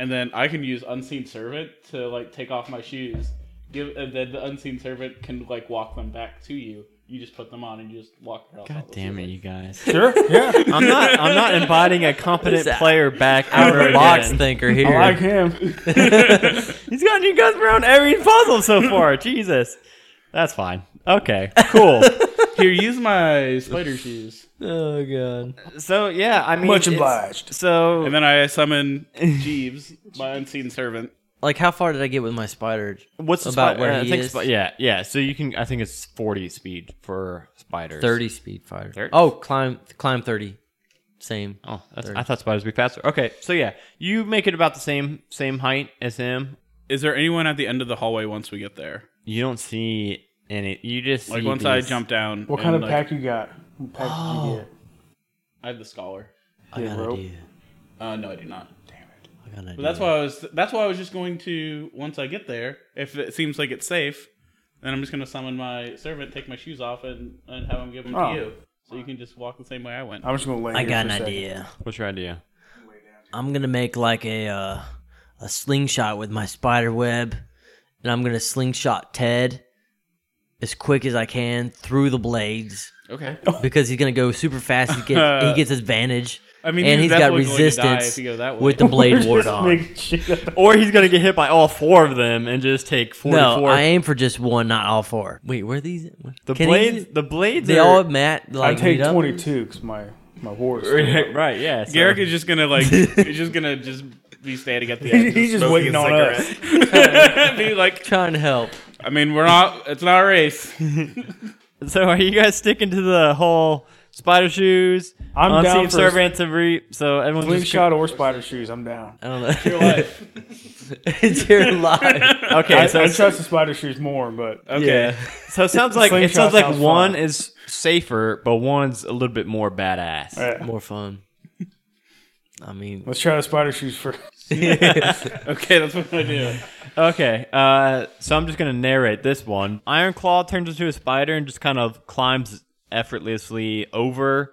and then I can use unseen servant to like take off my shoes. Give and then the unseen servant can like walk them back to you. You just put them on and you just walk across. all God the damn it, ceiling. you guys. Sure. Yeah. I'm not I'm not inviting a competent player back I'm out a of box box. thinker here. I like him. He's gotten you guys around every puzzle so far. Jesus. That's fine. Okay, cool. Here, use my spider shoes, oh god. so yeah, I mean, Much it's- obliged. So and then I summon Jeeves, my unseen servant. Like how far did I get with my spider? what's the about spi- where uh, I he think is? spi- yeah, yeah. So you can. I think it's forty speed for spiders. Thirty speed fighter. 30? Oh, climb climb thirty. Same. Oh, that's, I thought spiders would be faster. Okay, so yeah, you make it about the same same height as him. Is there anyone at the end of the hallway once we get there? You don't see any. You just Like see once I these- jump down. What and, kind of like, pack you got? What pack Oh, did you get? I have the scholar. I got an rope. idea. Uh, no, I do not. I got an idea. But that's why I was. That's why I was just going to. Once I get there, if it seems like it's safe, then I'm just going to summon my servant, take my shoes off, and and have him give them Oh. to you, so you can just walk the same way I went. I'm just gonna lay. I here got for an a second. idea. What's your idea? I'm gonna make like a uh, a slingshot with my spider web, and I'm gonna slingshot Ted as quick as I can through the blades Okay. because he's gonna go super fast. He gets he gets advantage. I mean, and he's he's got definitely going to die if resistance you go that way. with the blade ward Just on. make shit up. Or he's gonna get hit by all four of them and just take forty-four. No, I aim for just one, not all four. Wait, where are these? the Can he- blades. The blades. They are, all mat. I Like, take meet up? twenty two because my my horse. right. Yeah. so- Garrick is just going to like. he's just going to just be standing at the edge. He's just smoking waiting a on us. cigarette. be like, Trying to help. I mean, we're not. It's not a race. So are you guys sticking to the whole spider shoes? I'm unseen down for- servant to reap. So everyone Wing just shot or spider shoes. I'm down. I don't know. It's Your life. your life. Okay, I, so I trust the spider shoes more, but Okay. so it sounds like it Slingshot sounds like sounds one fun. is safer, but one's a little bit more badass. All right. More fun. I mean, let's try the spider shoes first. okay, that's what I do. Okay, uh, so I'm just gonna narrate this one. Ironclaw turns into a spider and just kind of climbs effortlessly over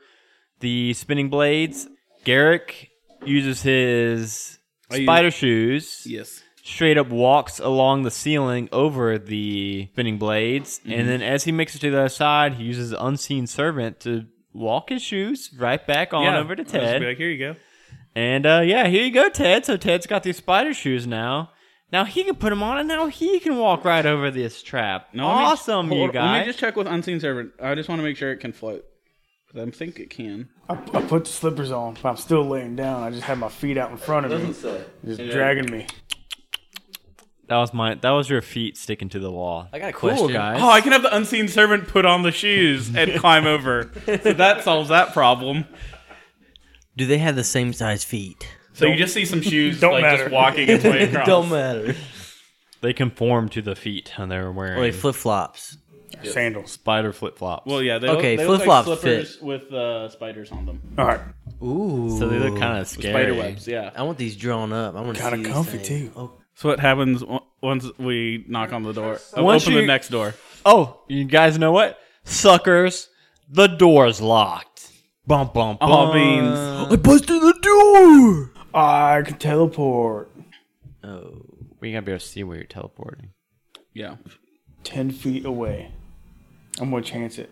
the spinning blades. Garrick uses his use- spider shoes, Yes. straight up walks along the ceiling over the spinning blades, Mm-hmm. and then as he makes it to the other side, he uses unseen servant to walk his shoes right back on over to I'll just Ted. be like, here you go. And uh, yeah, here you go, Ted. So Ted's got these spider shoes now. Now he can put them on, and now he can walk right over this trap. No, let me- awesome, hold you on, Let guys. me just check with unseen servant. I just want to make sure it can float. 'Cause I think it can. I, I put the slippers on, but I'm still laying down. I just have my feet out in front of me, just dragging me. that was my. That was your feet sticking to the wall. I got a question. Cool guys. Oh, I can have the unseen servant put on the shoes and climb over. So that solves that problem. Do they have the same size feet? So you just see some shoes Don't like matter. just walking its way across. Don't matter. They conform to the feet, and they're wearing Wait, flip flops. Sandals. spider flip flops. Well, yeah. They Okay, look, they look like flip-flops slippers with uh, spiders on them. All right. Ooh. so they look kind of scary. Spider webs. Yeah. I want these drawn up. I want to Kinda see these comfy, things. too. Oh, So what happens o- once we knock on the door? Oh, Once open you- the next door. Oh, you guys know what? Suckers, the door's locked. Bum bum bum. All Oh, beans. I busted the door. I can teleport Oh, We gotta be able to see where you're teleporting. Yeah. ten feet away. I'm gonna chance it.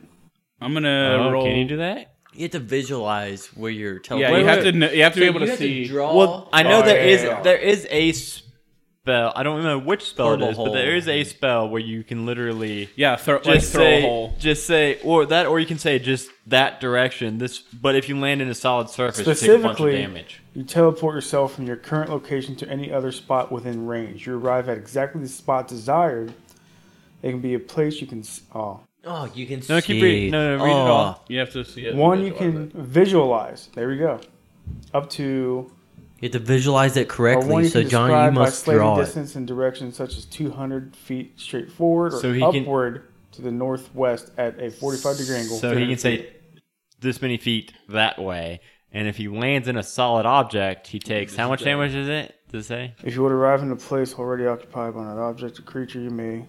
I'm gonna Oh, roll. can you do that? you have to visualize where you're yeah, teleporting. you Wait, have wait. to. Know, you have to So be able you to have see. draw. Well, I know Oh, there yeah, is yeah. there is a spell. I don't remember which spell it Portal is, but there hole. is a spell where you can literally yeah, throw, like, just throw say a hole. just say or that or you can say just that direction. This, but if you land in a solid surface, you take a bunch of Specifically- damage. You teleport yourself from your current location to any other spot within range. You arrive at exactly the spot desired. It can be a place you can. s- Oh. oh, you can see. Oh, No, keep reading. No, no, read it all. You have to see it. One you visualize it. can visualize. There we go. Up to You have to visualize it or one correctly. you So, can John, you describe by must slating draw it. distance and direction such as 200 feet straight forward or So he can- upward to the northwest at a 45 degree angle. So he can say this many feet that way, and if he lands in a solid object, he takes how much damage is it? Does it say? If you would arrive in a place already occupied by an object or creature, you may.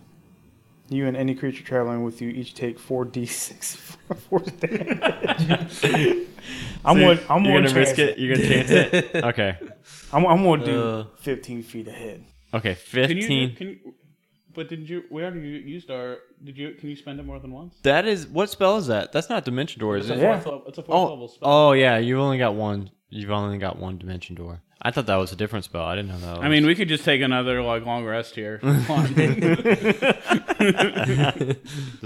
You and any creature traveling with you each take 4d6 force damage. I'm going I'm You're going gonna to risk it. You're gonna chance it. Okay. I'm, I'm going to do Uh. 15 feet ahead. Okay. Can you, Fifteen. do- can you, but did you? We already used our. Did you? Can you spend it more than once? that is what spell is that? That's not Dimension Door, is it? Yeah. Fourth level- It's a fourth level Oh, spell. oh yeah, you've only got one. You've only got one dimension door. I thought that was a different spell. I didn't know that. Was. I mean, we could just take another like long rest here. Come on. does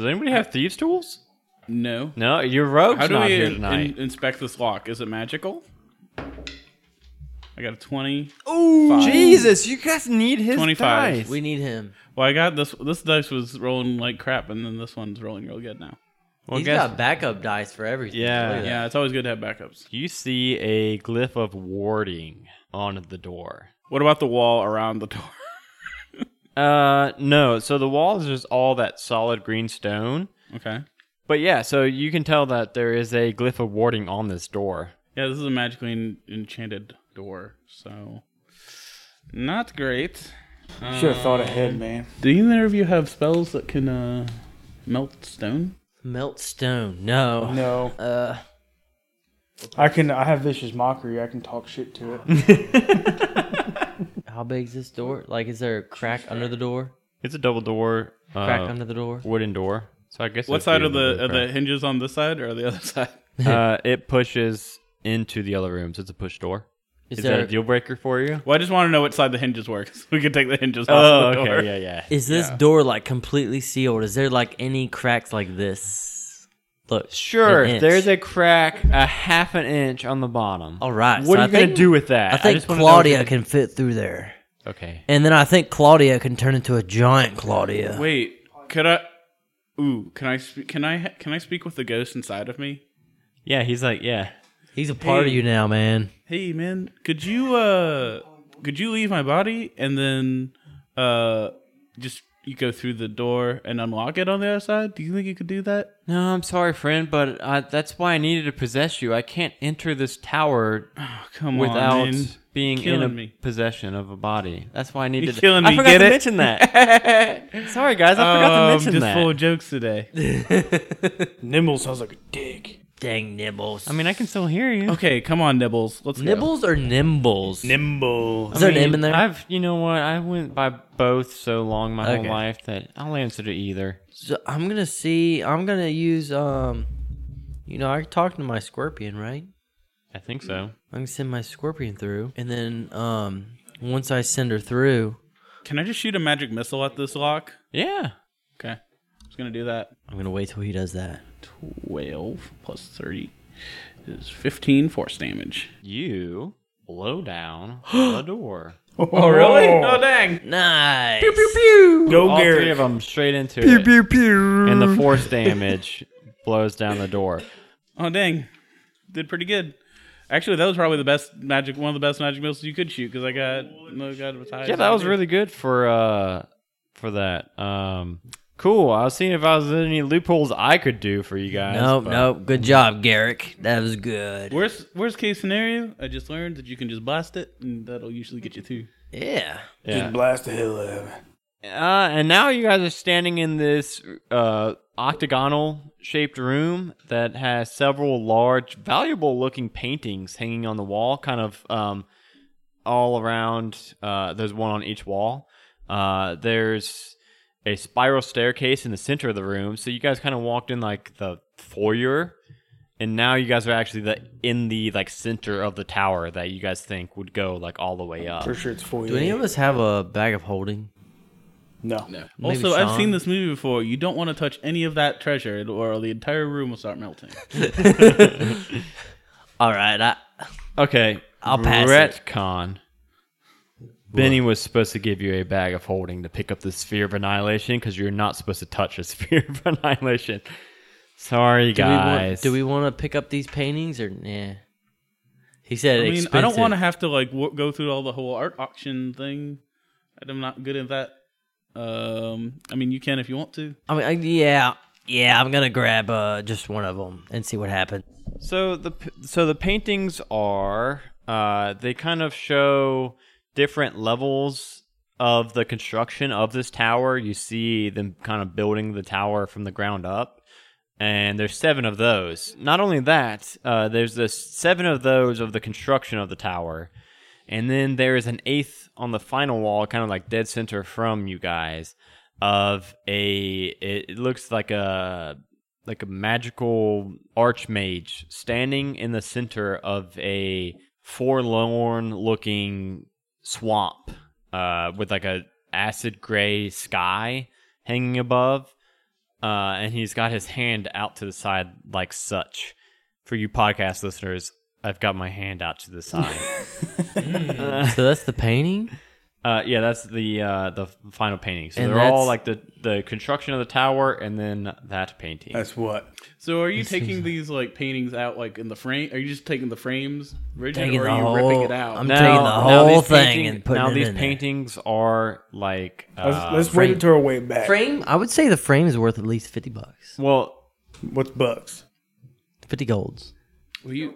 anybody have thieves' tools? no. No, your rogue's How do not we here in- tonight. in- inspect this lock? Is it magical? I got a twenty. Jesus, you guys need his 25. dice. We need him. Well, I got this. This dice was rolling like crap, and then this one's rolling real good now. Well, He's guess- got backup dice for everything. Yeah. Look at that. Yeah, it's always good to have backups. you see a glyph of warding on the door. What about the wall around the door? Uh, no. So the wall is just all that solid green stone. okay. But yeah, so you can tell that there is a glyph of warding on this door. Yeah, this is a magically en- enchanted door, so not great. Should have thought ahead, man. Do either of you have spells that can uh, melt stone? Melt stone. No. No. Uh, I can. I have vicious mockery. I can talk shit to it. how big is this door? Like, is there a crack under the door? It's a double door, uh, Crack under the door? wooden door. So I guess What it'd side be of the another are crack. the hinges on this side or the other side? uh, it pushes into the other rooms. It's a push door. Is Is, there- that a deal breaker for you? Well, I just want to know what side the hinges were, 'cause we could take the hinges off Oh, the door. okay, yeah, yeah. Is this door like completely sealed? Is there like any cracks like this? Look. Sure, an inch. there's a crack a half an inch on the bottom. All right, What so are I you going to think- do with that? I think just wanna know if Claudia it- can fit through there. Okay. And then I think Claudia can turn into a giant Claudia. Wait, could I? Ooh, can I? Spe- can I? ha- Can I speak with the ghost inside of me? Yeah, he's like, yeah. He's a part of Hey. you now, man. Hey, man, could you uh, could you leave my body and then uh, just you go through the door and unlock it on the other side? Do you think you could do that? No, I'm sorry, friend, but uh, that's why I needed to possess you. I can't enter this tower Oh, come without on. man. being in Killing a me. possession of a body. That's why I needed. to- killing I me, forgot get to it? mention that. sorry, guys, I Oh, forgot to I'm mention just that. full of jokes today. Nimble sounds like a dick. Dang nibbles. I mean, I can still hear you. Okay, come on, Nibbles. Let's go. nibbles or nimbles? Nimble. Is there I mean, an M in there? I've, you know what? I went by both so long my Okay. whole life that I'll answer to either. So I'm gonna see. I'm gonna use. Um, you know, I talked to my scorpion, right? I think so. I can send my scorpion through, and then um, once I send her through, Can I just shoot a magic missile at this lock? Yeah. Okay. I'm just going to do that. I'm gonna wait till he does that. 12 plus 30 is 15 force damage. You blow down the door. Oh, really? dang. Nice. Go, Oh, All three Garrett. of them straight into it. And the force damage blows down the door. Oh, dang. Did pretty good. Actually, that was probably the best magic, one of the best magic missiles you could shoot because I got no god retired. Yeah, that was really good for uh for that. Um cool. I was seeing if I was any loopholes I could do for you guys. Nope, but- nope. Good job, Garrick. That was good. Worst worst case scenario, I just learned that you can just blast it, and that'll usually get you through. Yeah. Yeah. Blast the hell out of him. Uh, and now you guys are standing in this uh, octagonal shaped room that has several large, valuable looking paintings hanging on the wall, kind of um, all around. Uh, there's one on each wall. Uh, there's a spiral staircase in the center of the room. So you guys kind of walked in like the foyer. And now you guys are actually the in the like center of the tower that you guys think would go like all the way up. For sure it's for Do any of us have a bag of holding? No. Maybe also, I've Sean. seen this movie before. You don't want to touch any of that treasure, it- or the entire room will start melting. All right. I, Okay. I'll pass it. Retcon. Benny was supposed to give you a bag of holding to pick up the sphere of annihilation because you're not supposed to touch the sphere of annihilation. Sorry, do we guys. want? Do we want to pick up these paintings or nah? He said. I mean, expensive. I don't want to have to like w- go through all the whole art auction thing. I'm not good at that. Um, I mean, you can if you want to. I mean, I, yeah, yeah. I'm gonna grab uh just one of them and see what happens. So the p- so the paintings are uh, they kind of show different levels of the construction of this tower. You see them kind of building the tower from the ground up, and there's seven of those. Not only that, uh, there's this seven of those of the construction of the tower, and then there is an eighth on the final wall, kind of like dead center from you guys, of a it it looks like a like a magical archmage standing in the center of a forlorn looking swamp uh, with like a acid gray sky hanging above uh, and he's got his hand out to the side like such for you podcast listeners i've got my hand out to the side so that's the painting. uh, yeah that's the uh, the final painting so And they're all that's- like the the construction of the tower and then that painting That's what. So, are you taking these like paintings out like in the frame? Are you just taking the frames rigid, Taking or the are you ripping whole- it out? I'm taking the now whole these thing painting- and putting now it these in there. paintings are like Let's, uh, let's wait until we're way back. Frame. I would say the frame is worth at least fifty bucks, well What's bucks? fifty golds. Will you?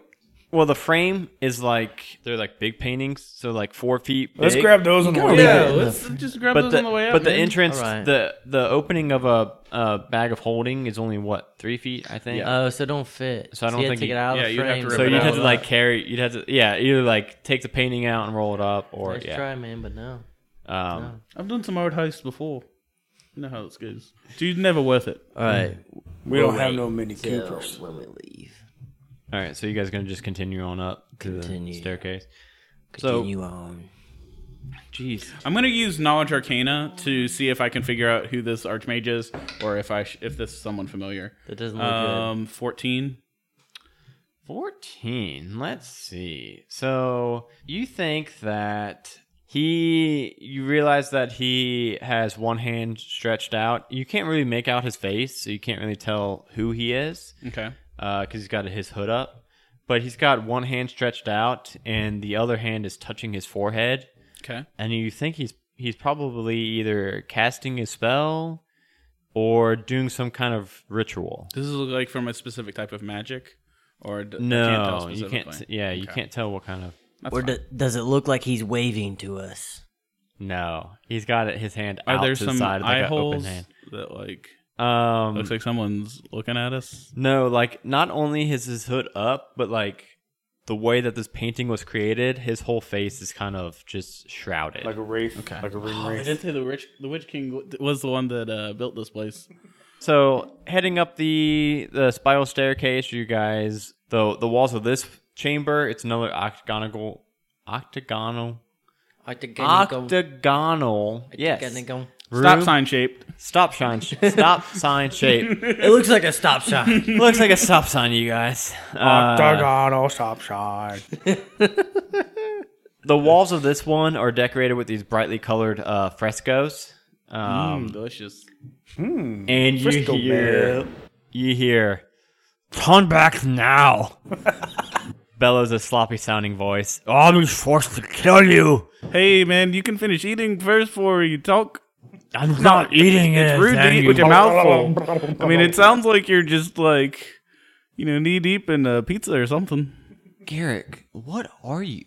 well the frame is like they're like big paintings so like four feet Let's big. grab those on the gotta way leave back. Yeah, Yeah, let's just grab but those the, on the way out. but the man. entrance Alright. the the opening of a uh, bag of holding is only what three feet I think Oh, so it don't fit. So I don't you had think to take you- it out of yeah, the you'd have frame. to so rip it you'd out. have to like carry you'd have to yeah either like take the painting out and roll it up or Nice yeah try, man, but no. um I've done some art heists before. You know how this goes. Dude, never worth it. All right. We don't have no Mini Coopers. When we leave, all right so you guys gonna just continue on up to Continue. the staircase continue on. jeez I'm gonna use Knowledge Arcana to see if I can figure out who this archmage is, or if I sh- if this is someone familiar. That doesn't look Um, fourteen. 14. Let's see. So you think that he, you realize that he has one hand stretched out. You can't really make out his face, so you can't really tell who he is Okay. because he's got his hood up. But he's got one hand stretched out and the other hand is touching his forehead. Okay. And you think he's he's probably either casting a spell or doing some kind of ritual. This is like from a specific type of magic, or d- I can't tell No, you specifically. can't. t- yeah, you Okay. can't tell what kind of. That's Or fine. do, does it look like he's waving to us? No, he's got it. His hand Are out there to some the side, eye like a holes open hand. that like Um, looks like someone's looking at us? no, like not only is his hood up, but like the way that this painting was created, his whole face is kind of just shrouded. Like a wraith. Like a Oh, ring I wraith. did say the rich, the Witch King was the one that uh, built this place. So heading up the the spiral staircase, you guys the the walls of this chamber. It's another octagonal, octagonal, octagonal. Yes. Stop room. sign shaped. Stop sign. sh- Stop sign shape. It looks like a stop sign. Looks like a stop sign, you guys. Uh, Octagonal stop sign. the walls of this one are decorated with these brightly colored uh, frescoes. Um, Mm, delicious. and you Frisco hear man. you hear turn back now bellows a sloppy sounding voice Oh, i'm forced to kill you Hey man, you can finish eating first before you talk. i'm not eating it Rude to eat with your mouth full. I mean, it sounds like you're just like, you know, knee deep in a pizza or something. garrick what are you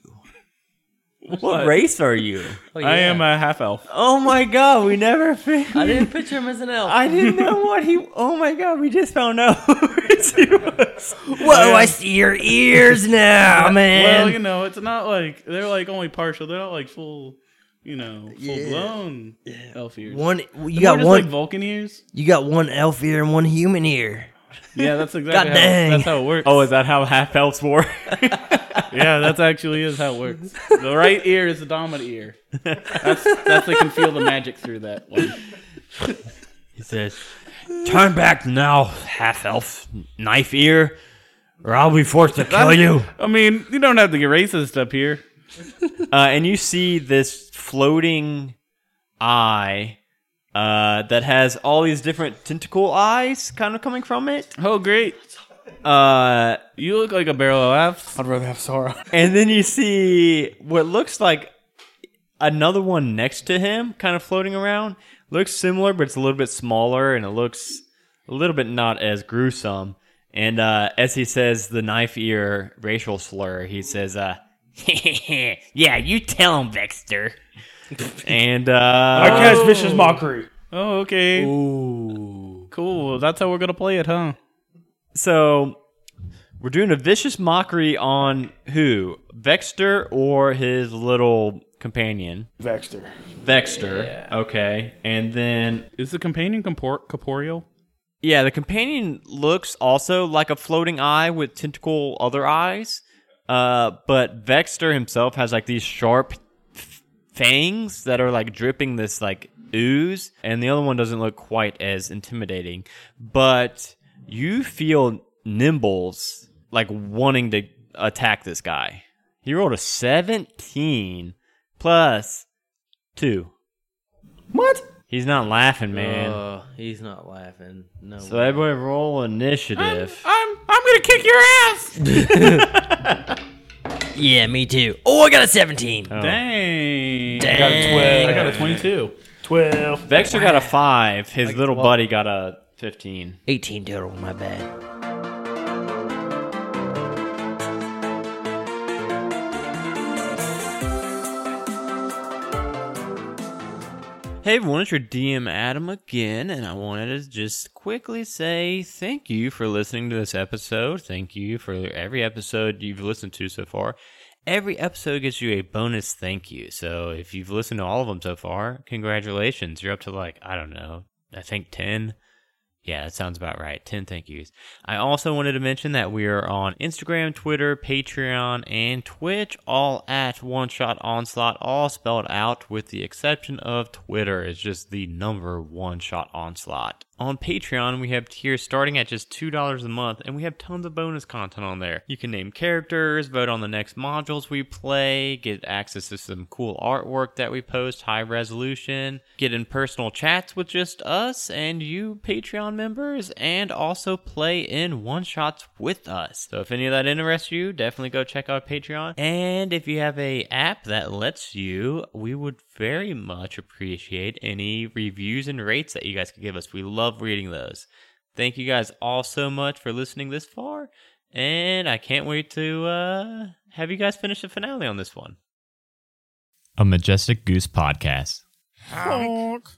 What? race are you Oh, I yeah. am a half elf. oh my god we never fin- I didn't picture him as an elf. i didn't know what he oh my god we just found out who he was. Whoa, I see your ears now, man. Well, you know, it's not like they're like only partial. They're not like full, you know, full blown elf ears. one, you They're got just one, like Vulcan ears. you got one elf ear and one human ear. Yeah, that's exactly. God how, dang. That's how it works. oh is that how half elves wore yeah, that's actually is how it works. The right ear is the dominant ear. That's that's they can feel the magic through that one. He says, Turn back now, half elf, knife ear, or I'll be forced to kill you. I mean, you don't have to get racist up here. Uh, and you see this floating eye uh, that has all these different tentacle eyes kind of coming from it. Oh, great! Uh, You look like a barrel of laughs. I'd rather have Sauron. and then you see what looks like another one next to him kind of floating around. Looks similar, but it's a little bit smaller and it looks a little bit not as gruesome. And uh, as he says the knife ear racial slur, he says, uh, Yeah, you tell him, Vexter. and I uh, cast vicious mockery. Oh, okay. Cool. That's how we're gonna play it, huh? so we're doing a vicious mockery on who? Vexter or his little companion? Vexter. Vexter. Okay. And then Is the companion compor- corporeal? yeah, the companion looks also like a floating eye with tentacle other eyes. Uh but Vexter himself has like these sharp f- fangs that are like dripping this like ooze and the other one doesn't look quite as intimidating. But you feel Nimbles like wanting to attack this guy. He rolled a 17 plus 2. What? He's not laughing, man. Oh, he's not laughing. No. so everybody roll initiative. I'm I'm gonna kick your ass. yeah, me too. Oh, I got a 17. Dang. I got a 12. I got a twenty-two. 12. Vexter got a five. His little buddy got a fifteen. 18 total, my bad. Hey everyone, it's your DM Adam again, and I wanted to just quickly say thank you for listening to this episode. Thank you for every episode you've listened to so far. Every episode gets you a bonus thank you. So if you've listened to all of them so far, congratulations. You're up to like, I don't know, I think 10. Yeah, that sounds about right. 10 thank yous. I also wanted to mention that we are on Instagram, Twitter, Patreon, and Twitch, all at One Shot Onslaught, all spelled out with the exception of Twitter. It's just the number One Shot Onslaught. On Patreon, we have tiers starting at just $2 a month, and we have tons of bonus content on there. You can name characters, vote on the next modules we play, get access to some cool artwork that we post, high resolution, get in personal chats with just us and you Patreon members and also play in one shots with us. So if any of that interests you, definitely go check out Patreon. And if you have a app that lets you, we would very much appreciate any reviews and rates that you guys could give us. We love reading those. Thank you guys all so much for listening this far, and I can't wait to uh, have you guys finish the finale on this one. A Majestic Goose Podcast. Honk.